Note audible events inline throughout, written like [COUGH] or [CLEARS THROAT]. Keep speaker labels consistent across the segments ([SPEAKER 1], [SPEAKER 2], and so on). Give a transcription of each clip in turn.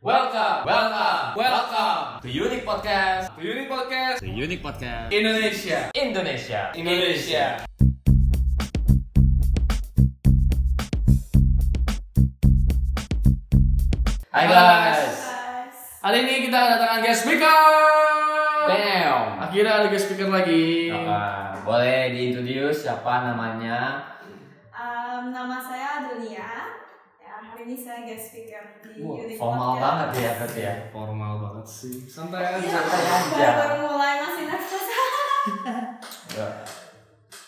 [SPEAKER 1] Welcome, welcome, welcome to Unique Podcast, to Unique Podcast,
[SPEAKER 2] The Unique Podcast.
[SPEAKER 1] Indonesia, Indonesia, Indonesia. Hai guys, hari ini kita kedatangan guest speaker.
[SPEAKER 2] Damn.
[SPEAKER 1] Akhirnya ada guest speaker lagi.
[SPEAKER 2] boleh diintroduce siapa namanya?
[SPEAKER 3] Um, nama saya Adunia. Ya, hari ini saya guest speaker di
[SPEAKER 2] Wah,
[SPEAKER 3] Unicorn
[SPEAKER 2] formal
[SPEAKER 3] Podcast.
[SPEAKER 2] banget ya berarti ya.
[SPEAKER 1] Formal banget sih, santai
[SPEAKER 3] Iya,
[SPEAKER 1] aja.
[SPEAKER 2] Santai aja.
[SPEAKER 3] Baru mulai masih nervous.
[SPEAKER 2] Ya,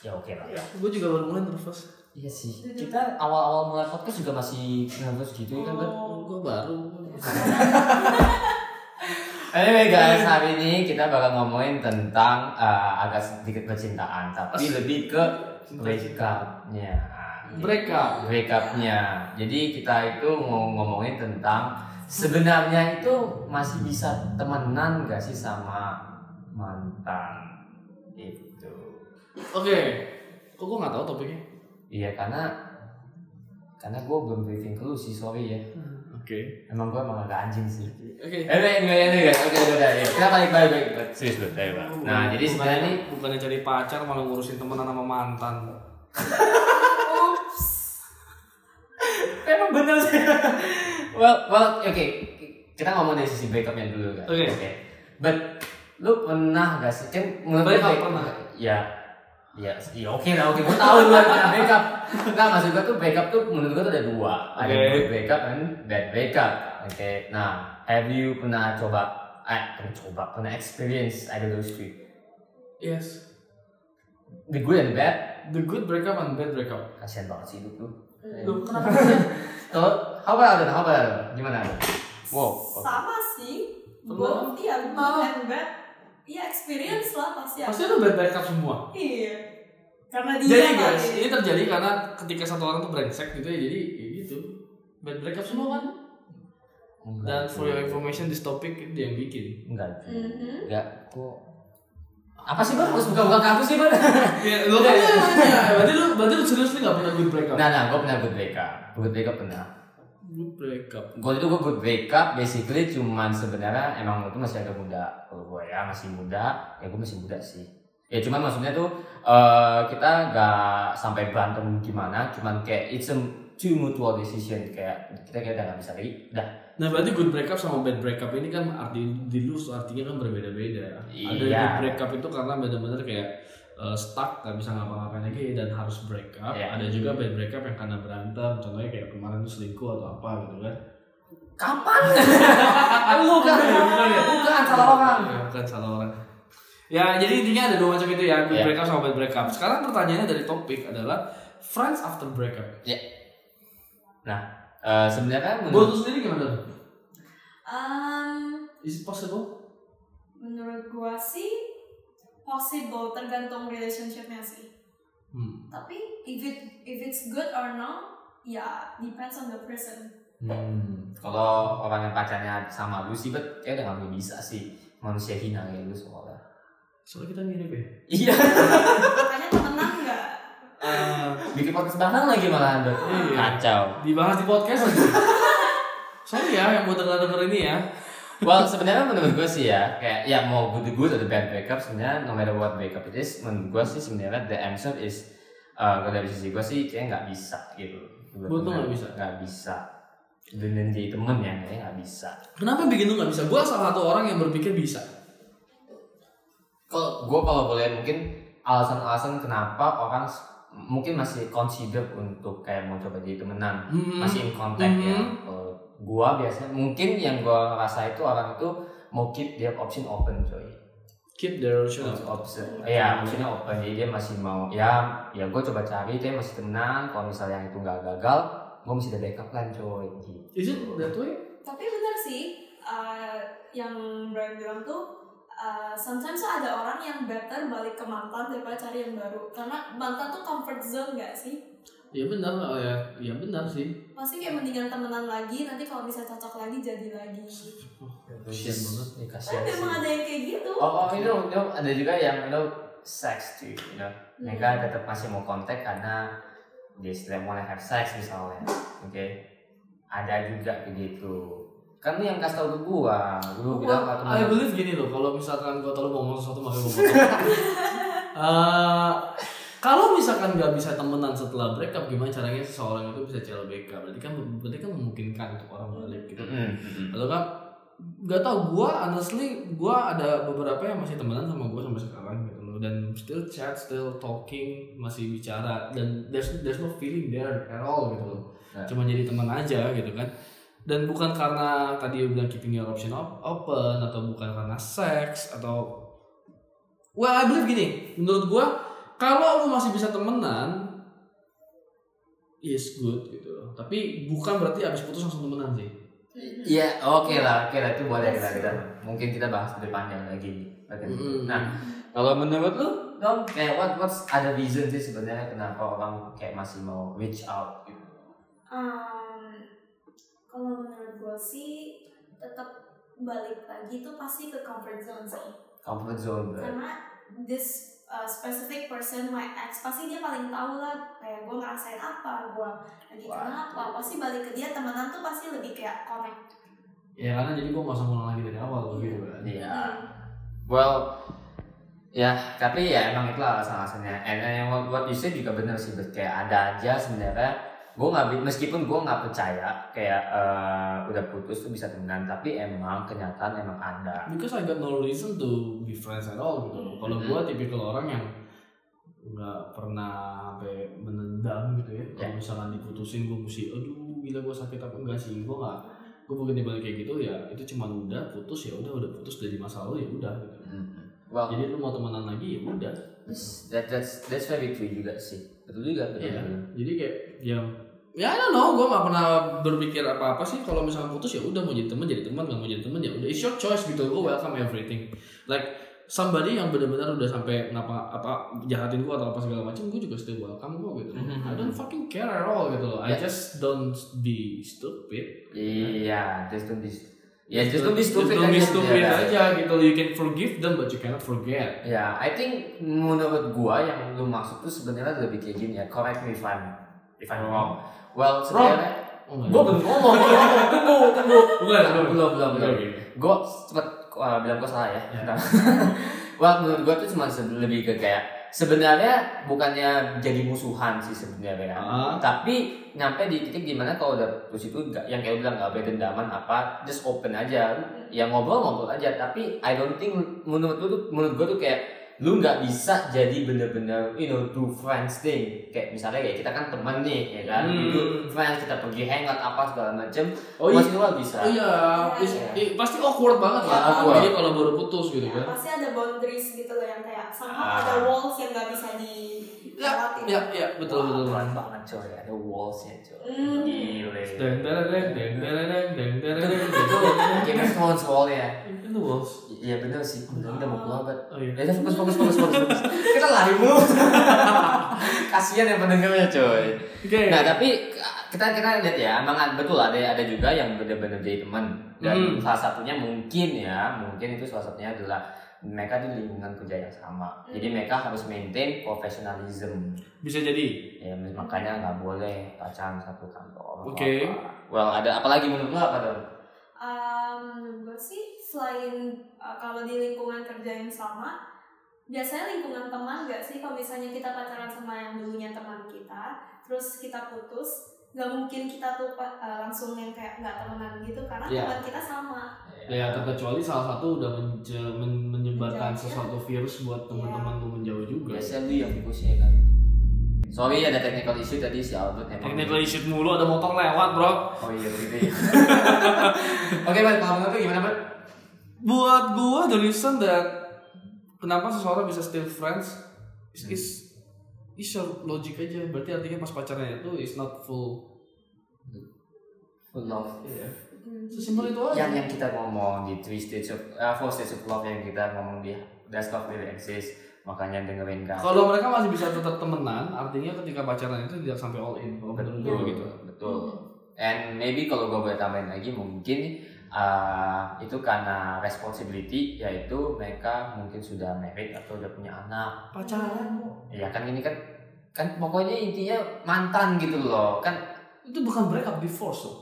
[SPEAKER 2] Ya oke lah.
[SPEAKER 1] Gue juga baru mulai nervous.
[SPEAKER 2] Iya sih. Kita awal-awal mulai podcast juga masih nervous gitu kan. Beb?
[SPEAKER 3] Oh.
[SPEAKER 1] Gue baru.
[SPEAKER 2] Anyway guys, hari ini kita bakal ngomongin tentang eh, agak sedikit percintaan, tapi lebih ke breakupnya.
[SPEAKER 1] Breakup.
[SPEAKER 2] Breakupnya. Jadi kita itu mau ngomongin tentang sebenarnya itu masih bisa temenan gak sih sama mantan Gitu. itu?
[SPEAKER 1] Oke. Kok gue nggak tahu topiknya?
[SPEAKER 2] Iya karena karena gue belum briefing ke lu sih sorry ya.
[SPEAKER 1] Oke.
[SPEAKER 2] Emang gue emang agak anjing sih.
[SPEAKER 1] Hmm. Oke.
[SPEAKER 2] Eh, anyway, anyway, anyway, guys. Oke, udah, udah, ya. Kita balik, balik, balik. Serius, udah, ayo, Pak. Nah, jadi sebenarnya nih,
[SPEAKER 1] bukannya cari pacar malah ngurusin temenan sama mantan.
[SPEAKER 3] Ups.
[SPEAKER 2] Memang benar sih. [LAUGHS] well, well, oke. Kita ngomong dari sisi backupnya dulu kan.
[SPEAKER 1] Oke.
[SPEAKER 2] But lu pernah gak sih? Kan menurut
[SPEAKER 1] Backup
[SPEAKER 2] back-
[SPEAKER 1] pernah.
[SPEAKER 2] Ya. Ya, ya oke lah, oke. Gue tahu lu pernah backup. Enggak, maksud gue tuh backup tuh menurut gue tuh ada dua. Ada
[SPEAKER 1] Oke.
[SPEAKER 2] good backup dan bad backup. Oke. Nah, have you pernah coba eh pernah coba pernah experience ada those three
[SPEAKER 1] Yes.
[SPEAKER 2] the good and bad
[SPEAKER 1] The good breakup and bad breakup.
[SPEAKER 2] kasihan banget sih hidup lu
[SPEAKER 3] Iya.
[SPEAKER 1] Lu kenapa?
[SPEAKER 2] so how about Alden how about Alden gimana Alden wow oke.
[SPEAKER 3] Sama sih.
[SPEAKER 1] Bener.
[SPEAKER 3] Both, iya, good
[SPEAKER 1] Malah.
[SPEAKER 3] and bad. Iya, experience lah pasti. ada.
[SPEAKER 1] Pasti itu bad breakup semua.
[SPEAKER 3] Iya. Karena
[SPEAKER 2] Iya,
[SPEAKER 3] dia
[SPEAKER 1] Jadi
[SPEAKER 3] kali.
[SPEAKER 1] guys, ini terjadi karena ketika satu orang tuh brengsek gitu ya, jadi ya gitu. Bad breakup semua kan.
[SPEAKER 2] Enggak.
[SPEAKER 1] Dan for your information, this topic itu dia yang bikin.
[SPEAKER 2] Enggak.
[SPEAKER 3] Mhm.
[SPEAKER 2] Enggak. Kok apa sih bang? Harus buka-buka kampus sih bang? [LAUGHS] Iya,
[SPEAKER 1] Ya, lu kan ya, berarti lu berarti lu serius nih gak pernah good breakup.
[SPEAKER 2] gitu. nah, nah, gue pernah good breakup. Good breakup pernah.
[SPEAKER 1] Good breakup.
[SPEAKER 2] Gue itu gue good breakup, basically cuman sebenarnya emang waktu itu masih agak muda. Kalau gue ya masih muda, ya gue masih muda sih. Ya cuman maksudnya tuh eh, kita gak sampai berantem gimana, cuman kayak it's a two mutual decision kayak kita kayak udah gak bisa lagi. Dah.
[SPEAKER 1] Nah berarti good breakup sama bad breakup ini kan arti di lu artinya kan berbeda-beda. Ada
[SPEAKER 2] Iya.
[SPEAKER 1] good breakup itu karena benar-benar kayak eh, stuck nggak bisa ngapa-ngapain lagi dan harus break up.
[SPEAKER 2] Iya.
[SPEAKER 1] Ada juga bad breakup yang karena berantem, contohnya kayak kemarin lu selingkuh atau apa gitu kan.
[SPEAKER 2] [LAUGHS]
[SPEAKER 1] Iya,
[SPEAKER 2] Kapan? Lu kan? Bukan salah orang.
[SPEAKER 1] Ya, bukan salah orang. Ya jadi intinya ada dua macam itu ya good
[SPEAKER 2] Iya.
[SPEAKER 1] breakup sama bad breakup. Sekarang pertanyaannya dari topik adalah friends after breakup.
[SPEAKER 2] Eh, sebenarnya
[SPEAKER 1] Hmm. Buat
[SPEAKER 2] menurut
[SPEAKER 1] lu sendiri gimana? Dor?
[SPEAKER 3] Um,
[SPEAKER 1] Is it possible?
[SPEAKER 3] menurut gua sih possible tergantung relationshipnya sih.
[SPEAKER 1] Hmm.
[SPEAKER 3] tapi if it if it's good or not ya depends on the person
[SPEAKER 2] Hmm, kalau orang yang pacarnya sama lu sih, bet, ya udah nggak bisa sih manusia hina kayak lu soalnya.
[SPEAKER 1] Soalnya kita mirip ya.
[SPEAKER 2] Iya.
[SPEAKER 3] makanya temenan nggak
[SPEAKER 2] Bikin podcast bareng lagi malah anda.
[SPEAKER 1] Ah. Iya.
[SPEAKER 2] Kacau.
[SPEAKER 1] dibahas di podcast [LAUGHS] sorry ya yang mau denger denger ini ya
[SPEAKER 2] Well, sebenarnya menurut gue sih ya, kayak ya mau good good atau bad breakup, sebenarnya no matter what breakup it is, menurut gue sih sebenarnya the answer is eh kalau dari sisi gue sih kayak nggak bisa gitu.
[SPEAKER 1] Gua tuh nggak bisa.
[SPEAKER 2] Nggak bisa. Dan jadi temen ya, kayaknya nggak bisa.
[SPEAKER 1] kenapa bikin lu nggak bisa gue salah satu orang yang berpikir bisa
[SPEAKER 2] kalau gue kalau boleh mungkin alasan-alasan kenapa orang s- mungkin masih consider untuk kayak mau coba jadi temenan
[SPEAKER 1] Hmm.
[SPEAKER 2] masih in contact ya
[SPEAKER 1] Mhm.
[SPEAKER 2] Kalau gue biasanya mungkin yang gue rasa itu orang itu mau keep their option open coy
[SPEAKER 1] keep the relationship
[SPEAKER 2] Option- option ya optionnya open jadi dia masih mau ya ya gue coba cari dia masih temenan kalau misalnya yang itu nggak gagal gue masih ada backup plan coy gitu
[SPEAKER 1] is it that way
[SPEAKER 3] tapi benar sih uh, yang Brian bilang tuh uh, sometimes tuh ada orang yang better balik ke mantan daripada cari yang baru karena mantan tuh comfort zone gak sih
[SPEAKER 1] ya benar oh ya ya benar sih
[SPEAKER 3] pasti kayak mendingan temenan lagi nanti kalau bisa cocok lagi jadi lagi
[SPEAKER 1] Kasian Oh, banget. Kan
[SPEAKER 2] Ya, kasian
[SPEAKER 3] tapi
[SPEAKER 2] sih.
[SPEAKER 3] memang ada yang kayak gitu
[SPEAKER 2] Oh, oh you know, you know, ada juga yang you know sex too, you know.
[SPEAKER 3] Hmm.
[SPEAKER 2] Mereka tetap masih mau kontak karena they still wanna have sex misalnya, oke? Ada juga begitu. kan lu yang kasih tau ke gua lu bilang
[SPEAKER 1] Wah,
[SPEAKER 2] atau
[SPEAKER 1] I believe gini loh, kalau misalkan gua terlalu ngomong sesuatu makanya gua ngomong. [LAUGHS] Eh, kalau misalkan nggak bisa temenan setelah break up, gimana caranya seseorang itu bisa CLBK? Berarti kan berarti kan memungkinkan untuk orang balik gitu.
[SPEAKER 2] Mm-mm, mm-mm.
[SPEAKER 1] Atau kan nggak tau gua honestly gua ada beberapa yang masih temenan sama gua sampai sekarang gitu loh dan still chat still talking masih bicara dan there's there's no feeling there at all gitu loh
[SPEAKER 2] Nah.
[SPEAKER 1] cuma jadi teman aja gitu kan dan bukan karena tadi lu bilang keeping your option op- open atau bukan karena seks atau well I believe gini menurut gua kalau lu masih bisa temenan is good gitu loh tapi bukan berarti abis putus langsung temenan sih
[SPEAKER 2] Iya, oke lah, oke lah itu boleh lah kita. Mungkin kita bahas lebih panjang lagi. Oke.
[SPEAKER 1] Mm.
[SPEAKER 2] Nah, kalau menurut lu, dong, kayak what what's ada reason sih sebenarnya kenapa orang kayak masih mau reach out gitu?
[SPEAKER 3] Um, kalau menurut gue sih tetap balik lagi tuh pasti ke comfort zone sih
[SPEAKER 2] Comfort zone, bro.
[SPEAKER 3] karena this uh, specific person my ex pasti dia paling tahu lah kayak gue ngerasain apa gue lagi
[SPEAKER 2] Wah.
[SPEAKER 3] kenapa pasti balik ke dia temenan tuh pasti lebih kayak connect
[SPEAKER 1] ya karena jadi gua nggak usah ngulang lagi dari awal gitu kan
[SPEAKER 2] Iya. Well, ya tapi ya emang itu alasan-alasannya. And, and yang what, what you say juga benar sih, but kayak ada aja sebenarnya. Gue nggak bi- meskipun gue nggak percaya kayak eh, udah putus tuh bisa temenan, tapi emang kenyataan emang ada.
[SPEAKER 1] because I got no reason to be friends at all gitu.
[SPEAKER 3] Hmm.
[SPEAKER 1] Kalau gua tipikal orang yang nggak pernah sampai menendam gitu ya.
[SPEAKER 2] Ya.
[SPEAKER 1] Kalau misalkan diputusin gua mesti aduh gila gua sakit apa enggak sih gua nggak gua bukan tipe kayak gitu ya itu cuma udah putus ya udah udah putus dari masa lalu ya udah gitu.
[SPEAKER 2] Well,
[SPEAKER 1] Jadi lu mau temenan lagi ya udah.
[SPEAKER 2] Yes, that, that's that's very true juga sih. Betul juga betul
[SPEAKER 1] Iya.
[SPEAKER 2] juga.
[SPEAKER 1] Jadi kayak ya ya I don't know, gue gak pernah berpikir apa-apa sih kalau misalnya putus ya udah mau jadi teman jadi teman gak mau jadi teman ya udah it's your choice gitu gue welcome everything like somebody yang benar-benar udah sampai ngapa apa jahatin gue atau apa segala macam gue juga still welcome gue gitu I don't fucking care at all gitu loh I
[SPEAKER 2] Mm-hmm. Yeah.
[SPEAKER 1] just don't be stupid
[SPEAKER 2] Iya, just don't be Ya, just don't be
[SPEAKER 1] Just
[SPEAKER 2] stupid
[SPEAKER 1] don't be
[SPEAKER 2] aja.
[SPEAKER 1] stupid
[SPEAKER 2] Iya.
[SPEAKER 1] aja gitu you can forgive them but you cannot forget
[SPEAKER 2] Ya, I think menurut gua yang lu maksud tuh sebenarnya lebih kayak gini ya. Correct me if I'm if I'm Oh. wrong. Well, sebenarnya
[SPEAKER 1] oh,
[SPEAKER 2] gua belum ngomong. Iya. Tunggu, tunggu. Belum,
[SPEAKER 1] bukan
[SPEAKER 2] belum, belum.
[SPEAKER 1] Oke,
[SPEAKER 2] belum.
[SPEAKER 1] oke.
[SPEAKER 2] Gue cepet uh, bilang gue salah ya.
[SPEAKER 1] Ya.
[SPEAKER 2] Bentar. [LAUGHS] Wah menurut gue tuh cuma se- lebih ke kayak sebenarnya bukannya jadi musuhan sih sebenarnya ya.
[SPEAKER 1] Ah.
[SPEAKER 2] Tapi nyampe di titik dimana kalau udah terus itu nggak yang kayak lu bilang nggak boleh dendaman apa, just open aja. Ya ngobrol ngobrol aja. Tapi I don't think menurut gue tuh menurut gue tuh kayak lu nggak bisa jadi bener-bener you know do friends thing kayak misalnya kayak kita kan temen nih ya kan
[SPEAKER 1] Hmm.
[SPEAKER 2] do friends kita pergi hangout apa segala macem
[SPEAKER 1] oh iya
[SPEAKER 2] masih lu nggak bisa
[SPEAKER 1] Oh iya, is-
[SPEAKER 2] Iya.
[SPEAKER 1] i- pasti awkward banget
[SPEAKER 2] Iya,
[SPEAKER 1] lah.
[SPEAKER 2] awkward.
[SPEAKER 1] Jadi kalau baru putus gitu
[SPEAKER 3] Ya,
[SPEAKER 1] kan.
[SPEAKER 3] pasti ada boundaries gitu loh yang kayak
[SPEAKER 2] Ah.
[SPEAKER 3] sama ada walls yang nggak bisa di
[SPEAKER 1] Ya, ya, ya, betul betul.
[SPEAKER 2] Wah, keren banget coy, ada wallsnya coy.
[SPEAKER 3] Hmm.
[SPEAKER 2] Gile.
[SPEAKER 1] Deng dereng, deng dereng, deng dereng, deng
[SPEAKER 2] Itu
[SPEAKER 1] dereng.
[SPEAKER 2] Game of Thrones wallnya.
[SPEAKER 1] Itu walls.
[SPEAKER 2] I- Iya bener sih, bener udah mau keluar bet.
[SPEAKER 1] Oh iya.
[SPEAKER 2] Ya udah, fokus fokus fokus fokus. fokus. Kita lari mulu. [LAUGHS] Kasihan yang pendengarnya coy.
[SPEAKER 1] Oke.
[SPEAKER 2] Nah tapi kita kita lihat ya, emang betul ada ada juga yang benar-benar jadi teman dan
[SPEAKER 1] Hmm.
[SPEAKER 2] salah satunya mungkin ya, mungkin itu salah satunya adalah mereka di lingkungan kerja yang
[SPEAKER 1] Hmm.
[SPEAKER 2] sama. Jadi mereka harus maintain profesionalism.
[SPEAKER 1] Bisa jadi.
[SPEAKER 2] ya makanya nggak boleh pacaran satu kantor
[SPEAKER 1] Oke.
[SPEAKER 2] apa. well ada apa lagi menurut lo apa dong
[SPEAKER 3] gue sih selain uh, kalau di lingkungan kerja yang sama biasanya lingkungan teman gak sih kalau misalnya kita pacaran sama yang dulunya teman kita terus kita putus nggak mungkin kita tuh pa- uh, langsung yang kayak nggak temenan gitu karena
[SPEAKER 1] Iya.
[SPEAKER 3] teman kita sama
[SPEAKER 1] Ya terkecuali salah satu udah menje- men- menyebarkan
[SPEAKER 3] Menjauh.
[SPEAKER 1] sesuatu virus buat teman-teman lu menjauh juga.
[SPEAKER 2] biasanya lu yang push ya kan sorry ada technical issue tadi si Albert emang
[SPEAKER 1] Technical issue mulu ada motor lewat, Bro.
[SPEAKER 2] oh iya begitu
[SPEAKER 1] [LAUGHS]
[SPEAKER 2] ya oke balik kalau menurut lo gimana bro
[SPEAKER 1] Buat gua the reason that kenapa seseorang bisa still friends is is, is your logic aja. Berarti artinya pas pacarnya itu is not full.
[SPEAKER 2] Full love
[SPEAKER 1] Iya.
[SPEAKER 3] Hmm.
[SPEAKER 1] Sesimpel itu aja.
[SPEAKER 2] yang yang kita ngomong di three stage of eh, four stage of love yang kita ngomong di that's love really exists makanya dengerin kan
[SPEAKER 1] Kalau mereka masih bisa tetap temenan, artinya ketika pacaran itu tidak sampai all in. Kalau menurut gue
[SPEAKER 2] betul
[SPEAKER 1] gitu.
[SPEAKER 2] betul and maybe kalau gue boleh tambahin lagi mungkin uh, itu karena responsibility yaitu mereka mungkin sudah married atau udah punya anak ya kan ini kan kan pokoknya intinya mantan gitu loh kan
[SPEAKER 1] itu bukan break up divorce loh.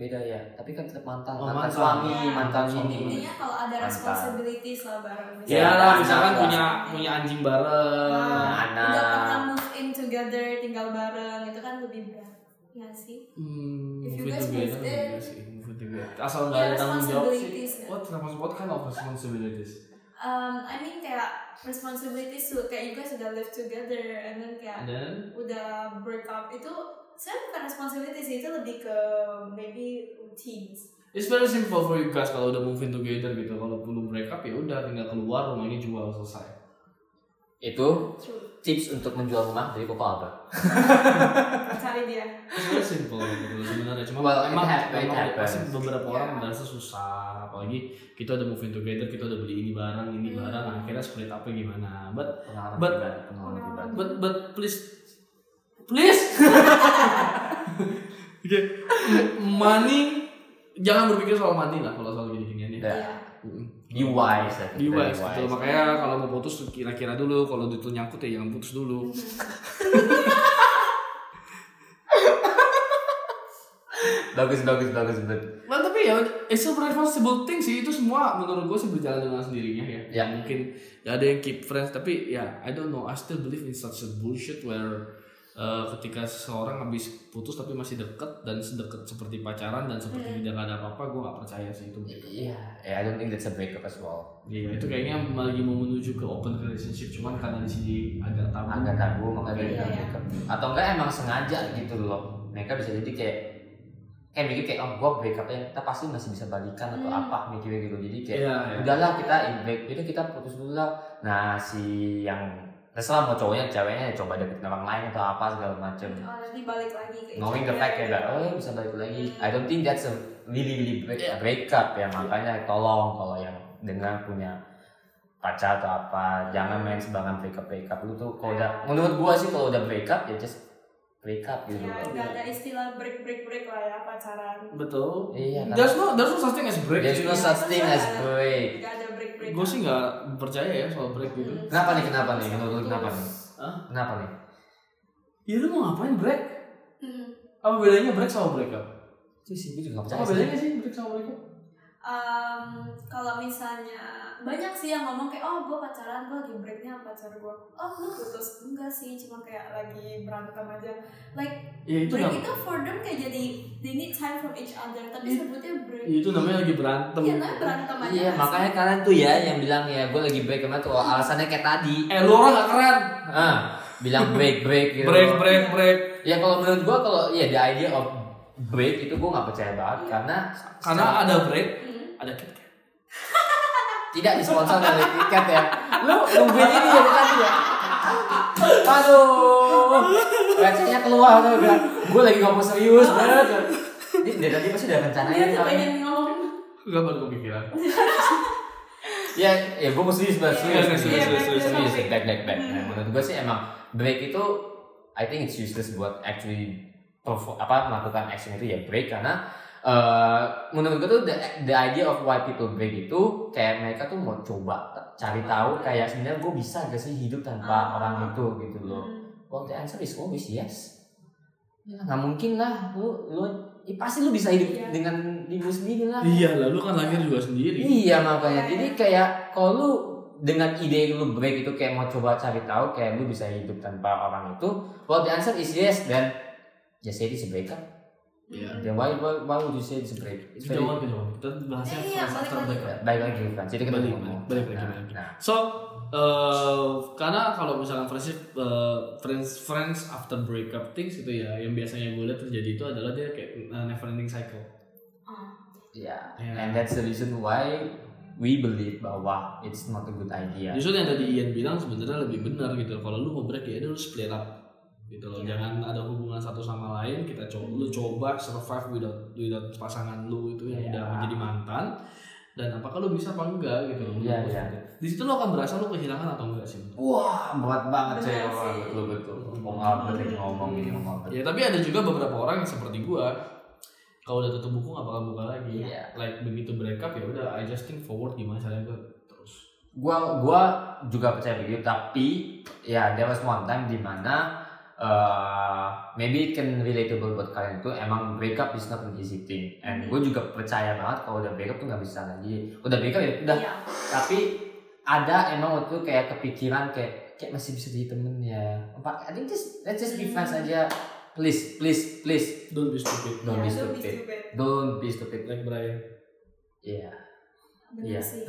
[SPEAKER 2] beda ya tapi kan tetap mantan
[SPEAKER 1] Oh,
[SPEAKER 2] mantan
[SPEAKER 1] mantan.
[SPEAKER 2] suami
[SPEAKER 3] Iya.
[SPEAKER 2] mantan
[SPEAKER 1] Suami.
[SPEAKER 2] ini
[SPEAKER 3] intinya kalau ada
[SPEAKER 2] Mantap.
[SPEAKER 3] responsibilities lah bareng
[SPEAKER 1] Ya,
[SPEAKER 2] Ya,
[SPEAKER 1] lah,
[SPEAKER 2] anak
[SPEAKER 1] misalkan
[SPEAKER 2] lah.
[SPEAKER 1] punya punya anjing bareng.
[SPEAKER 3] Ah,
[SPEAKER 2] Anak.
[SPEAKER 3] udah pernah move in together tinggal bareng itu kan lebih berat nggak sih
[SPEAKER 1] Hmm,
[SPEAKER 3] If you
[SPEAKER 1] mungkin
[SPEAKER 3] guys
[SPEAKER 1] juga itu
[SPEAKER 3] moved in.
[SPEAKER 1] juga sih, mungkin juga. Asal nggak ada tanggung jawab sih.
[SPEAKER 3] Iya, responsibilities.
[SPEAKER 1] What responsibilities kind of responsibilities?
[SPEAKER 3] um, I mean kayak responsibilities tuh kayak you guys udah live together and then kayak
[SPEAKER 1] And then,
[SPEAKER 2] Hmm.
[SPEAKER 3] udah break up itu saya bukan responsibilities sih, itu lebih ke maybe routines
[SPEAKER 1] It's very simple for you guys kalau udah move in together gitu. Kalau belum break up ya udah tinggal keluar rumahnya jual selesai.
[SPEAKER 2] itu
[SPEAKER 3] true
[SPEAKER 2] tips untuk menjual rumah dari Papa Alba [LAUGHS]
[SPEAKER 3] cari dia
[SPEAKER 1] It's very simple gitu sebenarnya. Cuma
[SPEAKER 2] Well, it
[SPEAKER 1] emang,
[SPEAKER 2] hap- it
[SPEAKER 1] emang
[SPEAKER 2] happens.
[SPEAKER 1] pasti beberapa
[SPEAKER 3] Yeah.
[SPEAKER 1] orang merasa susah. Apalagi kita udah move in together, kita udah beli ini barang, ini
[SPEAKER 3] Hmm.
[SPEAKER 1] barang, akhirnya split up gimana. But
[SPEAKER 2] pengalaman
[SPEAKER 1] But-
[SPEAKER 2] pribadi pengalaman pribadi
[SPEAKER 1] But but please, please. [LAUGHS] Oke, money jangan berpikir soal money lah kalau soal gini-ginian ya.
[SPEAKER 2] Ya.
[SPEAKER 3] Iya.
[SPEAKER 2] be wise lah
[SPEAKER 1] Be wise, betul. Makanya kalau mau putus kira-kira dulu, kalau itu nyangkut ya jangan putus dulu.
[SPEAKER 2] bagus bagus bagus bet
[SPEAKER 1] Nah, tapi ya it's a responsible thing sih itu semua menurut gue sih berjalan dengan sendirinya ya.
[SPEAKER 2] Ya.
[SPEAKER 1] Mungkin ya ada yang keep friends tapi ya I don't know I still believe in such a bullshit where uh, ketika seseorang habis putus tapi masih deket dan sedekat seperti pacaran dan seperti
[SPEAKER 3] Hmm.
[SPEAKER 1] tidak ada apa-apa gue gak percaya sih itu.
[SPEAKER 2] iya yeah, I don't think that's a breakup as well
[SPEAKER 1] Iya itu kayaknya lagi mau menuju ke open relationship cuman karena di sini agak tabu.
[SPEAKER 2] agak tabu makanya
[SPEAKER 3] Iya,
[SPEAKER 2] mereka
[SPEAKER 3] iya.
[SPEAKER 2] breakup atau enggak emang sengaja gitu loh mereka bisa jadi kayak kayak mikir kayak oh gua breakup ya kita pasti masih bisa balikan atau
[SPEAKER 3] Hmm.
[SPEAKER 2] apa mikirnya gitu jadi kayak
[SPEAKER 1] Iya. iya.
[SPEAKER 2] udahlah kita break itu kita putus dulu lah nah si yang terserah mau cowoknya ceweknya ya coba deketin orang lain atau apa segala macem
[SPEAKER 3] oh nanti balik lagi gitu. ke
[SPEAKER 2] knowing the fact ya that oh bisa balik lagi I don't think that's a really really break,
[SPEAKER 1] Yeah.
[SPEAKER 2] breakup ya makanya tolong kalau yang dengar punya pacar atau apa jangan main sembarangan breakup breakup itu tuh kalau udah menurut gua sih kalau udah breakup ya just breakup gitu
[SPEAKER 3] ya
[SPEAKER 2] loh
[SPEAKER 3] nggak ada istilah break break break lah ya pacaran
[SPEAKER 1] Betul.
[SPEAKER 2] iya kan
[SPEAKER 1] There's no there's no such thing as break. gitu ya.
[SPEAKER 2] there's no
[SPEAKER 1] sih.
[SPEAKER 2] such thing as break
[SPEAKER 3] nggak ada break break Hmm.
[SPEAKER 1] Gue sih nggak percaya ya soal break gitu.
[SPEAKER 2] Kenapa nih, kenapa nih? Menurut lu kenapa nih?
[SPEAKER 1] Hah?
[SPEAKER 2] kenapa nih
[SPEAKER 1] Ya lu mau ngapain break?
[SPEAKER 3] Hmm.
[SPEAKER 1] Apa bedanya break sama break up?
[SPEAKER 2] itu sih gue juga nggak
[SPEAKER 1] Apa
[SPEAKER 2] percaya sih
[SPEAKER 1] bedanya sih break sama break up?
[SPEAKER 3] um, kalau misalnya banyak sih yang ngomong kayak oh gue pacaran gue lagi breaknya sama pacar gue oh lu putus enggak sih cuma kayak lagi berantem aja like
[SPEAKER 1] Ya itu
[SPEAKER 2] Iya.
[SPEAKER 1] namanya
[SPEAKER 3] break itu for them kayak jadi they need time from each other tapi
[SPEAKER 1] Iya.
[SPEAKER 3] sebutnya break
[SPEAKER 1] itu namanya lagi berantem.
[SPEAKER 3] iya tapi berantem aja
[SPEAKER 2] Iya, makanya kalian tuh ya yang bilang ya gue lagi break kemarin tuh oh, alasannya kayak tadi.
[SPEAKER 1] Eh lu orang gak keren.
[SPEAKER 2] Ah, bilang break break gitu.
[SPEAKER 1] Break break break.
[SPEAKER 2] Ya kalau menurut gue kalau ya the idea of break itu gue nggak percaya banget karena
[SPEAKER 1] Karena
[SPEAKER 2] secara-
[SPEAKER 1] ada break,
[SPEAKER 3] Hmm.
[SPEAKER 1] ada KitKat.
[SPEAKER 2] tidak disponsor dari tiket ya. Lo nungguin ini ya bukan ya. Aduh, rasanya keluar tuh udah. Gue lagi ngomong serius banget. Ini dari tadi pasti udah
[SPEAKER 3] dia
[SPEAKER 2] rencanain
[SPEAKER 3] Iya, tuh
[SPEAKER 2] kali.
[SPEAKER 3] pengen ngomong
[SPEAKER 1] Gak baru kepikiran.
[SPEAKER 2] Ya, ya gue mesti serius banget serius.
[SPEAKER 1] Iya,
[SPEAKER 2] serius,
[SPEAKER 1] serius,
[SPEAKER 2] serius,
[SPEAKER 3] serius.
[SPEAKER 2] serius, Back, back, back.
[SPEAKER 3] Hmm.
[SPEAKER 2] Nah, menurut gue sih emang break itu, I think it's useless buat actually perform, apa melakukan action itu ya break karena eh, menurut gue tuh the, the idea of why people break itu kayak mereka tuh mau coba t- cari tahu kayak sebenarnya gue bisa gak sih hidup tanpa
[SPEAKER 3] Ah.
[SPEAKER 2] orang itu gitu loh.
[SPEAKER 3] Hmm.
[SPEAKER 2] Well the answer is always yes. Ya, nggak mungkin lah, lu lu ya pasti lu bisa hidup
[SPEAKER 3] Iya.
[SPEAKER 2] dengan diri lu sendiri lah.
[SPEAKER 1] Iya lah, lu kan lahir juga sendiri.
[SPEAKER 2] Iya makanya. Jadi kayak kalau lu dengan ide lu break itu kayak mau coba cari tahu kayak lu bisa hidup tanpa orang itu, well the answer is yes dan just say it's a breakup.
[SPEAKER 1] Iya.
[SPEAKER 2] Then why, why, why would you say it's a break? It's very-
[SPEAKER 1] Kejauhan kejauhan. Kita bahasnya
[SPEAKER 3] Iya,
[SPEAKER 1] friends
[SPEAKER 3] balik
[SPEAKER 1] after
[SPEAKER 3] lagi.
[SPEAKER 1] break up.
[SPEAKER 2] Baik lagi kan. Jadi kita
[SPEAKER 1] Balik,
[SPEAKER 2] ngomong.
[SPEAKER 1] balik, balik,
[SPEAKER 2] Nah,
[SPEAKER 1] balik.
[SPEAKER 2] nah.
[SPEAKER 1] So, eh, karena kalau misalkan friendship, eh, friends friends after breakup things itu ya, yang biasanya gue lihat terjadi itu adalah dia kayak eh, never ending cycle.
[SPEAKER 2] Yeah.
[SPEAKER 1] Iya.
[SPEAKER 2] And that's the reason why we believe bahwa it's not a good idea.
[SPEAKER 1] Justru yang tadi Ian bilang sebenarnya lebih benar gitu. Kalau lu mau break ya udah lu split up gitu loh. Jangan ada hubungan satu sama lain. Kita coba lu coba survive without without pasangan lu itu yang
[SPEAKER 2] Iya.
[SPEAKER 1] udah menjadi mantan. Dan apakah lu bisa apa enggak gitu loh.
[SPEAKER 2] Iya,
[SPEAKER 1] Menurut
[SPEAKER 2] iya.
[SPEAKER 1] gue. Di situ lu akan berasa lu kehilangan atau enggak sih.
[SPEAKER 2] Wah, berat banget
[SPEAKER 3] Benar
[SPEAKER 2] coy. Wah,
[SPEAKER 3] sih.
[SPEAKER 2] Betul betul. Ngomong apa tadi ngomong ini ngomong apa.
[SPEAKER 1] Ya tapi ada juga beberapa orang yang seperti gua. Kalau udah tutup buku nggak bakal buka lagi.
[SPEAKER 2] Iya.
[SPEAKER 1] Like begitu break up ya udah I just think forward gimana caranya gua terus.
[SPEAKER 2] gua gua juga percaya begitu tapi ya there was one time di mana eh, maybe it can relatable buat kalian itu emang breakup is not an easy thing and gue juga percaya banget kalau udah breakup tuh nggak bisa lagi udah breakup ya udah
[SPEAKER 3] Iya.
[SPEAKER 2] tapi ada emang waktu itu kayak kepikiran kayak kayak masih bisa jadi temen ya apa I think just let's just be friends aja please please please
[SPEAKER 1] Don't be stupid.
[SPEAKER 2] don't be
[SPEAKER 3] Iya, don't be
[SPEAKER 2] stupid
[SPEAKER 3] stupid.
[SPEAKER 2] don't be stupid
[SPEAKER 1] Like Brian.
[SPEAKER 2] yeah
[SPEAKER 3] Bener
[SPEAKER 2] Iya. [LAUGHS]
[SPEAKER 3] sih.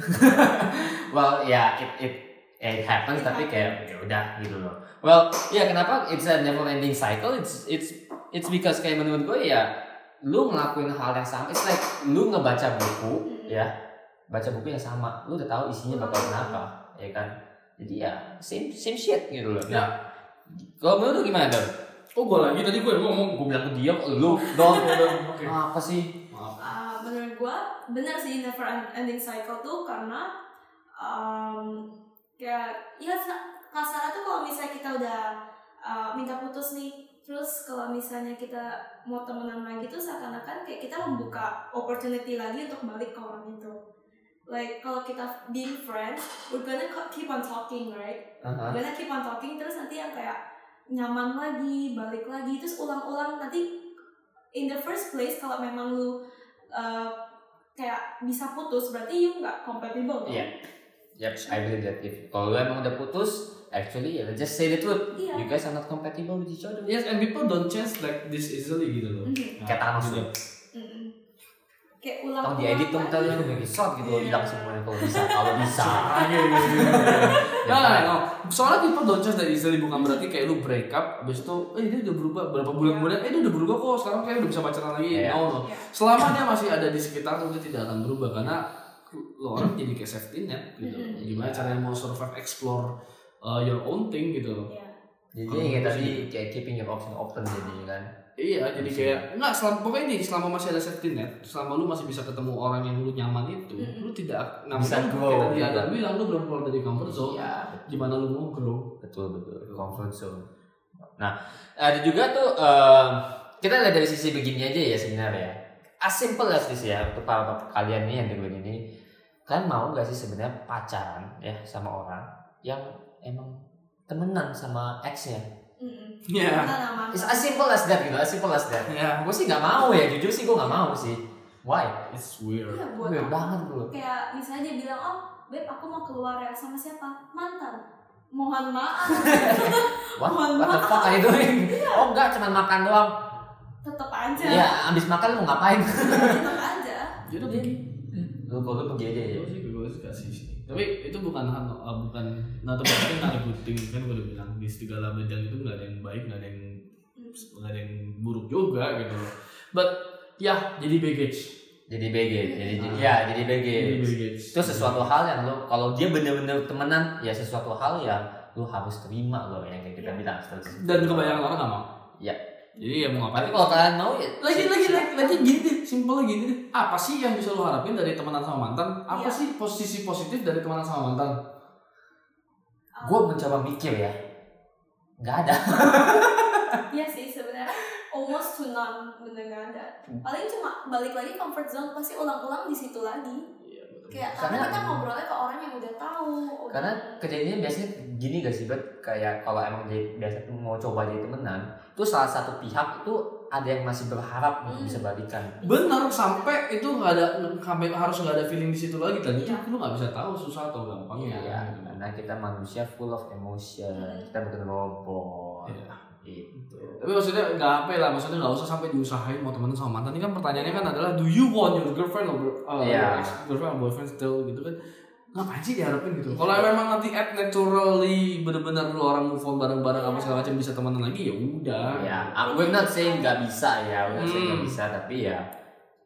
[SPEAKER 2] well ya it it it happens tapi kayak ya udah gitu loh well ya kenapa it's a never ending cycle it's it's it's because kayak menurut gue ya lu ngelakuin hal yang sama it's like lu ngebaca buku ya baca buku yang sama lu udah tahu isinya bakal kenapa ya kan jadi ya same same shit gitu loh nah kalau menurut lu gimana dong
[SPEAKER 1] Oh gue lagi tadi gue yang ngomong.
[SPEAKER 2] gue bilang ke dia kok lu dong [LAUGHS]
[SPEAKER 1] Oke.
[SPEAKER 2] apa sih
[SPEAKER 3] Uh, menurut gua benar sih never ending cycle tuh karena um, kayak ya sa- kasarnya tuh kalau misalnya kita udah uh, minta putus nih terus kalau misalnya kita mau temenan lagi tuh seakan-akan kayak kita membuka opportunity lagi untuk balik ke orang itu like kalau kita being friends we're gonna co- keep on talking right
[SPEAKER 2] Aha.
[SPEAKER 3] we're gonna keep on talking terus nanti yang kayak nyaman lagi balik lagi terus ulang-ulang nanti in the first place kalau memang lu uh, kayak bisa putus berarti you nggak compatible kan? dong?
[SPEAKER 2] Iya. Yep, I believe that if kalau lu emang udah putus, actually ya just say the truth.
[SPEAKER 3] Iya.
[SPEAKER 2] You guys are not compatible with each other.
[SPEAKER 1] Yes, and people don't change like this easily gitu loh.
[SPEAKER 2] Hmm.
[SPEAKER 1] Nah,
[SPEAKER 3] Mhm,
[SPEAKER 2] Kayak Thanos
[SPEAKER 1] gitu.
[SPEAKER 2] tuh.
[SPEAKER 3] mhm. kayak ulang
[SPEAKER 2] Tolong diedit dong, ntar lu bagi shot gitu,
[SPEAKER 3] Iya.
[SPEAKER 2] hilang semuanya kalau bisa, kalau
[SPEAKER 1] [LAUGHS]
[SPEAKER 2] bisa.
[SPEAKER 1] Iya,
[SPEAKER 2] [LAUGHS]
[SPEAKER 1] iya, iya.
[SPEAKER 2] Ya,
[SPEAKER 1] Nah, no. soalnya people don't change that easily bukan berarti kayak lu break up, abis itu, eh dia udah berubah berapa bulan kemudian, eh dia udah berubah kok, sekarang kayak udah bisa pacaran lagi.
[SPEAKER 2] Iya.
[SPEAKER 1] No, no. Selama dia masih ada di sekitar lu, dia tidak akan berubah karena lo orang jadi kayak safety net gitu.
[SPEAKER 2] Hmm.
[SPEAKER 3] Mhm.
[SPEAKER 1] Gimana caranya mau survive, explore uh, your own thing gitu. loh.
[SPEAKER 3] Iya.
[SPEAKER 2] Jadi ya tadi kayak keeping your option open jadi kan.
[SPEAKER 1] Iya, jadi kayak enggak selama pokoknya ini selama masih ada safety net, selama lu masih bisa ketemu orang yang lu nyaman itu,
[SPEAKER 3] Mhm.
[SPEAKER 1] lu tidak namanya kan
[SPEAKER 2] Bisa
[SPEAKER 1] kayak
[SPEAKER 2] grow,
[SPEAKER 1] tadi
[SPEAKER 2] gitu.
[SPEAKER 1] ada bilang lu belum keluar dari comfort zone.
[SPEAKER 2] Iya,
[SPEAKER 1] Gimana lu mau
[SPEAKER 2] [LAUGHS]
[SPEAKER 1] grow?
[SPEAKER 2] betul betul comfort zone. Nah, ada juga tuh eh, kita lihat dari sisi begini aja ya sebenarnya. As simple as this ya untuk para para kalian nih yang dengerin ini. Kalian mau gak sih sebenarnya pacaran ya sama orang yang emang temenan sama exnya?
[SPEAKER 3] Mhm.
[SPEAKER 1] Iya.
[SPEAKER 3] Kita nama
[SPEAKER 2] It's as simple as that gitu, as simple as that.
[SPEAKER 1] Iya.
[SPEAKER 2] Gue sih gak mau ya, jujur sih gue gak mau sih. Why?
[SPEAKER 1] It's weird.
[SPEAKER 3] Iya, buat
[SPEAKER 2] Gue
[SPEAKER 3] apa?
[SPEAKER 2] banget gue.
[SPEAKER 3] kayak misalnya dia bilang oh beb aku mau keluar ya sama siapa mantan mohon maaf
[SPEAKER 2] What?
[SPEAKER 3] Mohon
[SPEAKER 2] What the
[SPEAKER 3] maaf.
[SPEAKER 2] fuck are you doing? Oh enggak, cuman makan doang.
[SPEAKER 3] tetap aja [LAUGHS]
[SPEAKER 2] Iya, abis makan lu ngapain? [LAUGHS]
[SPEAKER 3] tetap aja
[SPEAKER 2] Iya,
[SPEAKER 1] Dia udah pergi.
[SPEAKER 2] Lu kalau lu pergi aja ya.
[SPEAKER 1] Gue sih gue sih kasih sih. Tapi itu bukan hal- uh, bukan nah tapi itu nada puting kan gue udah bilang di segala bidang itu nggak ada yang baik nggak ada yang nggak ada yang buruk juga gitu loh. But ya jadi baggage.
[SPEAKER 2] Jadi BG, jadi jadi-
[SPEAKER 1] Ah.
[SPEAKER 2] ya jadi BG.
[SPEAKER 1] Jadi baggage.
[SPEAKER 2] Itu sesuatu hal yang lu kalau dia bener-bener temenan, ya sesuatu hal yang lu harus terima loh yang kayak kita bilang.
[SPEAKER 1] Dan kebanyakan orang nggak mau.
[SPEAKER 2] Iya.
[SPEAKER 1] Jadi ya mau
[SPEAKER 2] Tapi
[SPEAKER 1] ngapain?
[SPEAKER 2] kalau kalian mau ya
[SPEAKER 1] lagi lagi lagi lagi gini deh simpelnya gini deh apa sih yang bisa lo harapin dari temenan sama mantan apa
[SPEAKER 3] Iya.
[SPEAKER 1] sih posisi positif dari temenan sama mantan
[SPEAKER 3] Um,
[SPEAKER 2] gue mencoba mikir ya. Gak ada.
[SPEAKER 3] Iya sih sebenarnya almost to none bener nggak ada
[SPEAKER 2] Hmm.
[SPEAKER 3] paling cuma balik lagi comfort zone pasti ulang-ulang di situ lagi kayak karena,
[SPEAKER 2] Karena-
[SPEAKER 3] kita ngobrolnya ke orang yang udah tahu udah-
[SPEAKER 2] Karena kejadiannya biasanya gini gak sih, Bet? Kayak kalau emang jadi, biasa tuh mau coba jadi temenan, itu salah satu pihak itu ada yang masih berharap untuk
[SPEAKER 3] Hmm.
[SPEAKER 2] bisa balikan.
[SPEAKER 1] bener sampai itu nggak ada sampai harus nggak ada feeling di situ lagi dan itu lu nggak bisa tahu susah atau ya, gitu gampangnya
[SPEAKER 2] Iya,
[SPEAKER 1] kan.
[SPEAKER 2] karena kita manusia full of emotion,
[SPEAKER 3] Hmm.
[SPEAKER 2] kita bukan robot.
[SPEAKER 1] Iya.
[SPEAKER 2] Gitu.
[SPEAKER 1] tapi maksudnya nggak apa ya lah maksudnya nggak usah sampai diusahain mau temenan sama mantan ini kan pertanyaannya kan adalah do you want your girlfriend or uh,
[SPEAKER 2] Iya.
[SPEAKER 1] ex girlfriend or boyfriend still gitu kan ngapain sih diharapin gitu kalau memang nanti at naturally bener-bener lu orang move on bareng-bareng apa segala macam bisa temenan lagi ya udah
[SPEAKER 2] Ya, I'm we're not saying nggak bisa ya, we're not saying nggak
[SPEAKER 1] Hmm.
[SPEAKER 2] bisa, tapi ya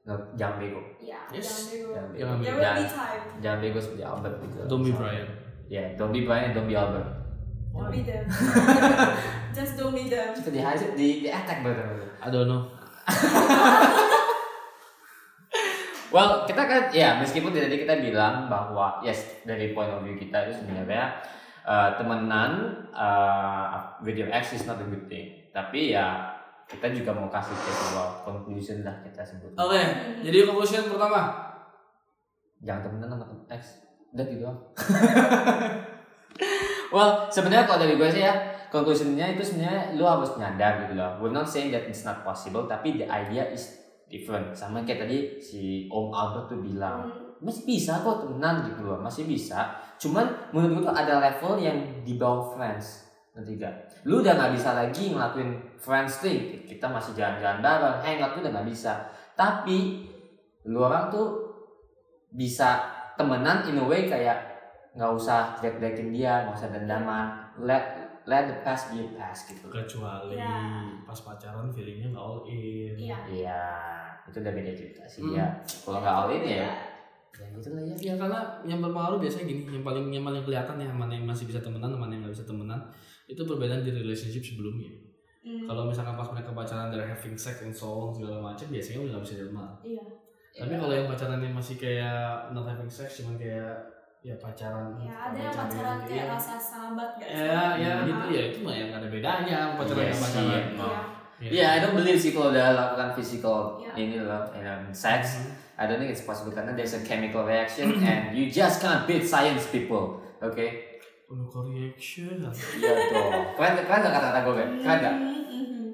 [SPEAKER 2] nggak- jangan bego,
[SPEAKER 3] ya
[SPEAKER 1] Yes.
[SPEAKER 3] jangan bego
[SPEAKER 2] jangan bego,
[SPEAKER 1] Jangan bego.
[SPEAKER 3] there will
[SPEAKER 2] jangan,
[SPEAKER 3] be time
[SPEAKER 2] jangan bego seperti Albert gitu.
[SPEAKER 1] don't be Brian
[SPEAKER 2] Ya, don't be Brian, don't be Albert.
[SPEAKER 3] don't be
[SPEAKER 2] [LAUGHS]
[SPEAKER 3] them just don't be them
[SPEAKER 2] Kita dihajar, di, di attack betul.
[SPEAKER 1] I don't know
[SPEAKER 2] Well, kita kan ya meskipun tadi kita bilang bahwa yes dari point of view kita itu sebenarnya uh, temenan uh, with your ex is not a good thing. Tapi ya kita juga mau kasih kayak sebuah conclusion lah kita sebut.
[SPEAKER 1] oke
[SPEAKER 2] Iya.
[SPEAKER 1] jadi conclusion pertama
[SPEAKER 2] Jangan temenan sama [LAUGHS] ex. Udah gitu. doang. well, sebenarnya kalau dari gue sih ya conclusionnya itu sebenarnya lu harus nyadar gitu loh we're not saying that it's not possible tapi the idea is different sama kayak tadi si Om Albert tuh bilang
[SPEAKER 3] Hmm,
[SPEAKER 2] masih bisa kok temenan gitu loh masih bisa cuman menurut gue tuh ada level yang di bawah friends ngerti gak? lu udah nggak bisa lagi ngelakuin friends thing kita masih jalan-jalan bareng hangout tuh udah nggak bisa tapi lu orang tuh bisa temenan in a way kayak nggak usah jelek-jelekin dia nggak usah dendaman let let the past be a past gitu
[SPEAKER 1] kecuali
[SPEAKER 3] Ya.
[SPEAKER 1] pas pacaran feelingnya nggak all in
[SPEAKER 3] Iya.
[SPEAKER 2] iya itu udah beda cerita sih
[SPEAKER 1] Hmm.
[SPEAKER 2] ya kalau nggak all in
[SPEAKER 3] Iya.
[SPEAKER 2] ya ya gitu lah ya
[SPEAKER 1] ya karena yang berpengaruh biasanya gini yang paling yang paling kelihatan ya mana yang masih bisa temenan mana yang nggak bisa temenan itu perbedaan di relationship sebelumnya
[SPEAKER 3] Hmm.
[SPEAKER 1] kalau misalkan pas mereka pacaran dari having sex and so on segala macam biasanya udah nggak bisa temenan
[SPEAKER 3] Iya.
[SPEAKER 1] tapi kalau yang pacarannya masih kayak not having sex cuman kayak ya pacaran
[SPEAKER 3] Ya, ada yang
[SPEAKER 1] pacaran-
[SPEAKER 3] pacaran kayak
[SPEAKER 1] iya.
[SPEAKER 3] rasa sahabat gak sih? Iya.
[SPEAKER 1] ya ya
[SPEAKER 2] Hmm.
[SPEAKER 1] gitu ya itu mah yang nggak ada bedanya sama pacaran
[SPEAKER 2] Iya
[SPEAKER 1] sama
[SPEAKER 2] sih,
[SPEAKER 1] pacaran
[SPEAKER 2] emang.
[SPEAKER 1] Iya.
[SPEAKER 2] Ya, I don't believe sih kalau udah lakukan physical
[SPEAKER 3] Ya.
[SPEAKER 2] ini loh, you know,
[SPEAKER 1] Iya.
[SPEAKER 2] sex. I don't think it's possible karena there's a chemical reaction and you just can't beat science people. Oke?
[SPEAKER 1] Perlu correction.
[SPEAKER 2] Iya dong. Keren, keren gak kata-kata gue, Ben? Keren gak?
[SPEAKER 3] Hmm, hmm, hmm.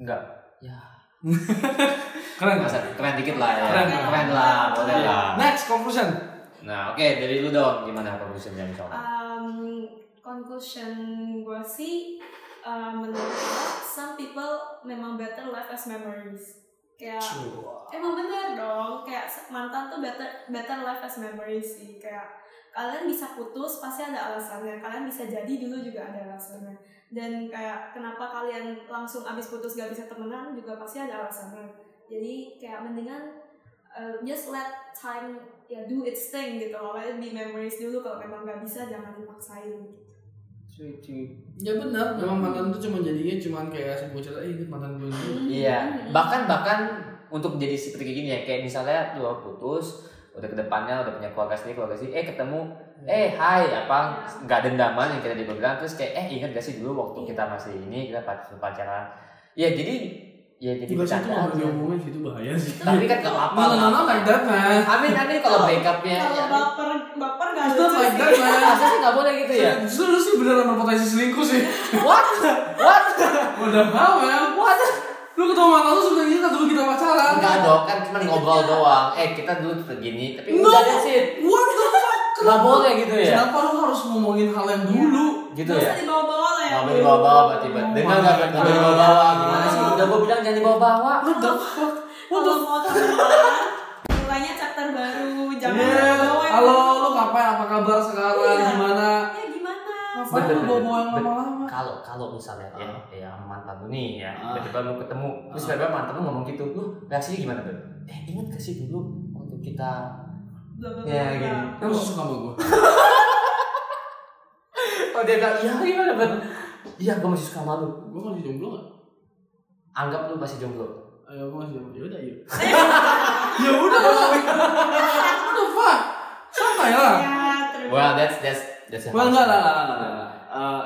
[SPEAKER 2] Enggak.
[SPEAKER 1] Keren nggak?
[SPEAKER 2] Masa keren dikit lah ya.
[SPEAKER 1] Keren.
[SPEAKER 2] Keren, lah, boleh
[SPEAKER 1] Iya.
[SPEAKER 2] lah.
[SPEAKER 1] Next conclusion.
[SPEAKER 2] Nah, oke, dari lu dong gimana produsen yang
[SPEAKER 1] Ah.
[SPEAKER 2] soal?
[SPEAKER 3] Um, conclusion gue sih uh, menurut gue some people memang better left as memories
[SPEAKER 2] Ya.
[SPEAKER 3] kayak emang bener dong kayak se- mantan tuh better better left as memories sih kayak kalian bisa putus pasti ada alasannya kalian bisa jadi dulu juga ada alasannya dan kayak kenapa kalian langsung abis putus gak bisa temenan juga pasti ada alasannya jadi kayak mendingan uh, just let time ya do its thing gitu loh let it be memories dulu kalau memang gak bisa jangan dipaksain
[SPEAKER 1] Ya benar, memang mantan itu cuma jadinya cuma kayak sebuah cerita, eh ini mantan gue dulu.
[SPEAKER 2] Iya,
[SPEAKER 3] Hmm.
[SPEAKER 2] bahkan bahkan untuk jadi seperti gini ya, kayak misalnya lu putus, udah kedepannya udah punya keluarga sendiri, keluarga sendiri, eh ketemu eh hai apa nggak dendaman yang kita dibilang terus kayak eh ingat gak sih dulu waktu kita masih ini kita pac- pacaran ya jadi ya jadi
[SPEAKER 1] Enggak sih
[SPEAKER 2] bercanda
[SPEAKER 1] itu nggak boleh
[SPEAKER 2] aja.
[SPEAKER 1] diomongin sih itu gitu, bahaya sih.
[SPEAKER 2] tapi kan gak apa-apa
[SPEAKER 1] [LAUGHS] Malah
[SPEAKER 2] lah.
[SPEAKER 1] nana like that man.
[SPEAKER 2] amin amin kalau breakupnya
[SPEAKER 3] kalau
[SPEAKER 2] ya.
[SPEAKER 3] baper baper gak
[SPEAKER 1] It's not
[SPEAKER 3] lucu
[SPEAKER 1] like
[SPEAKER 3] sih
[SPEAKER 2] [LAUGHS]
[SPEAKER 1] that man.
[SPEAKER 2] masa sih gak boleh gitu ya
[SPEAKER 1] Justru lu sih beneran berpotensi selingkuh sih. [LAUGHS]
[SPEAKER 2] what what
[SPEAKER 1] Padahal man,
[SPEAKER 2] what
[SPEAKER 1] lu ketemu mantan lu sebenarnya kita dulu kita pacaran.
[SPEAKER 2] enggak dong kan cuma ngobrol doang eh kita dulu kita gini tapi
[SPEAKER 1] No.
[SPEAKER 2] udah that's it
[SPEAKER 1] What the fuck?
[SPEAKER 2] [LAUGHS] gak boleh gitu ya
[SPEAKER 1] Kenapa lu harus ngomongin hal yang dulu?
[SPEAKER 2] gitu ya
[SPEAKER 3] Gak usah dibawa-bawa lah ya
[SPEAKER 2] Gak boleh bawa-bawa tiba-tiba Dengar gak gak boleh bawa-bawa Gimana sih Udah gue bilang jangan dibawa-bawa
[SPEAKER 1] What the fuck? What the
[SPEAKER 3] Kalau mau teman, mulainya chapter baru,
[SPEAKER 2] Iya.
[SPEAKER 3] jangan
[SPEAKER 1] Yeah.
[SPEAKER 3] bawa yang
[SPEAKER 1] Iya, Halo,
[SPEAKER 3] lama.
[SPEAKER 1] lu ngapain? Apa kabar sekarang?
[SPEAKER 3] Iya.
[SPEAKER 1] Gimana?
[SPEAKER 3] Ya gimana?
[SPEAKER 1] Ngapain lu
[SPEAKER 2] Bener,
[SPEAKER 1] bawa-bawa yang
[SPEAKER 2] bener.
[SPEAKER 1] lama-lama?
[SPEAKER 2] [LAUGHS] kalau kalau misalnya ya, ya mantan lu nih ya
[SPEAKER 1] Ah.
[SPEAKER 2] tiba-tiba lu ketemu terus
[SPEAKER 1] Ah.
[SPEAKER 2] tiba-tiba mantan lu ngomong gitu lu reaksinya gimana tuh eh ingat gak sih dulu waktu kita
[SPEAKER 3] Bla bla bla.
[SPEAKER 2] ya
[SPEAKER 3] bla.
[SPEAKER 2] gini
[SPEAKER 1] Kan lu suka sama gue.
[SPEAKER 2] [LAUGHS] oh dia bilang iya gimana ben iya gue masih suka malu
[SPEAKER 1] Gue masih jomblo gak?
[SPEAKER 2] anggap lu masih jomblo
[SPEAKER 1] Ayo, gue masih jomblo. Yaudah, yuk. [LAUGHS] ya udah lah. What the fuck? Santai lah.
[SPEAKER 3] Ya, terus.
[SPEAKER 2] well that's that's that's
[SPEAKER 1] Well, enggak lah, enggak lah, enggak [LAUGHS] lah. Eh,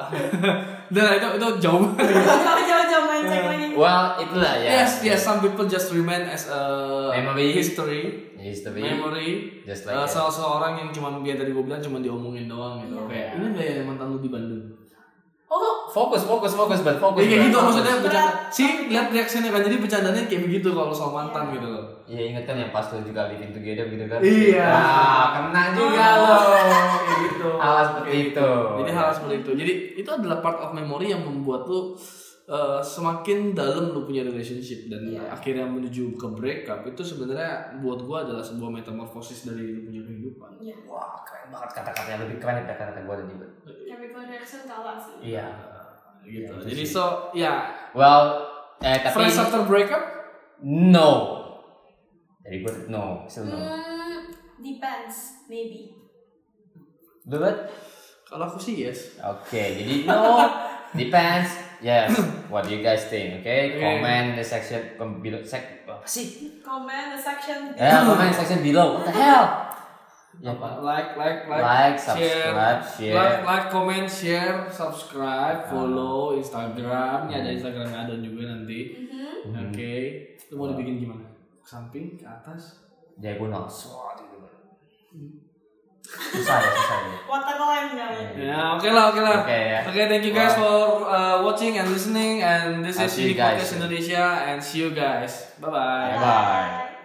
[SPEAKER 1] udah lah, itu, itu jauh.
[SPEAKER 3] Jangan jauh-jauh main cek lagi.
[SPEAKER 2] well itulah ya
[SPEAKER 1] Yes, yes, some people just remain as a
[SPEAKER 2] Memory.
[SPEAKER 1] history,
[SPEAKER 2] Yes, tapi
[SPEAKER 1] memory.
[SPEAKER 2] just like
[SPEAKER 1] Eh,
[SPEAKER 2] that.
[SPEAKER 1] salah seorang yang cuman dia tadi gue bilang cuman diomongin doang gitu.
[SPEAKER 3] Iya.
[SPEAKER 1] Kayak ingat gak ya mantan lu di Bandung?
[SPEAKER 3] Oh,
[SPEAKER 2] fokus fokus fokus ben fokus
[SPEAKER 1] Ya kayak
[SPEAKER 2] Ben.
[SPEAKER 1] gitu maksudnya
[SPEAKER 3] Berat.
[SPEAKER 1] bercanda. Si lihat reaksinya kan jadi bercandanya kayak begitu kalau soal mantan gitu loh.
[SPEAKER 2] Iya inget kan yang pas lu juga living together gitu kan
[SPEAKER 1] Iya.
[SPEAKER 2] Wah, kena juga lo
[SPEAKER 1] Kayak gitu.
[SPEAKER 2] hal seperti itu
[SPEAKER 1] Jadi hal seperti itu. Jadi itu adalah part of memory yang membuat lu uh, semakin dalam lu punya relationship dan
[SPEAKER 2] Iya.
[SPEAKER 1] akhirnya menuju ke breakup itu sebenarnya buat gua adalah sebuah metamorfosis dari lu punya kehidupan.
[SPEAKER 3] ya.
[SPEAKER 2] Wah keren banget kata-kata yang lebih keren daripada kata-kata gue tadi. Ben.
[SPEAKER 3] Chemical reaction kalah sih.
[SPEAKER 2] Iya. Iya,
[SPEAKER 1] Gitu.
[SPEAKER 2] itu
[SPEAKER 1] Jadi
[SPEAKER 2] sih.
[SPEAKER 1] so ya
[SPEAKER 2] Well, eh tapi
[SPEAKER 1] friends after breakup
[SPEAKER 2] no. Dari gue no, still no.
[SPEAKER 3] Hmm, depends, maybe.
[SPEAKER 1] Hmm.
[SPEAKER 2] Lu, Bet?
[SPEAKER 1] kalau aku sih yes.
[SPEAKER 2] Oke, jadi
[SPEAKER 1] [LAUGHS]
[SPEAKER 2] no depends. Yes, what do you guys think? Oke,
[SPEAKER 1] Oke.
[SPEAKER 2] comment in the section kom- below. Sek, apa
[SPEAKER 1] [CLEARS THROAT]
[SPEAKER 2] sih?
[SPEAKER 3] Comment the section.
[SPEAKER 2] Eh, comment in the section below. What the hell? Ya, Pak.
[SPEAKER 1] Like like like
[SPEAKER 2] Like,
[SPEAKER 1] share.
[SPEAKER 2] subscribe,
[SPEAKER 1] Like,
[SPEAKER 2] share. Ah.
[SPEAKER 1] like, comment, share, subscribe, follow Instagram. Ini ada Instagramnya Adon juga nanti.
[SPEAKER 3] Mhm.
[SPEAKER 1] Oke.
[SPEAKER 2] Hmm,
[SPEAKER 1] Lu mau dibikin gimana? Ke samping, ke atas?
[SPEAKER 2] Diagonal. Swat gitu. Susah ya, susah ya.
[SPEAKER 3] Waterland kali.
[SPEAKER 1] Ya, oke lah, oke
[SPEAKER 2] Iya.
[SPEAKER 1] lah.
[SPEAKER 2] Oke ya.
[SPEAKER 1] Okay, thank you guys for uh, watching and listening. And this
[SPEAKER 2] I'll
[SPEAKER 1] is
[SPEAKER 2] see you
[SPEAKER 1] Unique
[SPEAKER 2] guys
[SPEAKER 1] Podcast
[SPEAKER 2] soon.
[SPEAKER 1] Indonesia. And see you guys. Bye bye.
[SPEAKER 2] Bye-bye.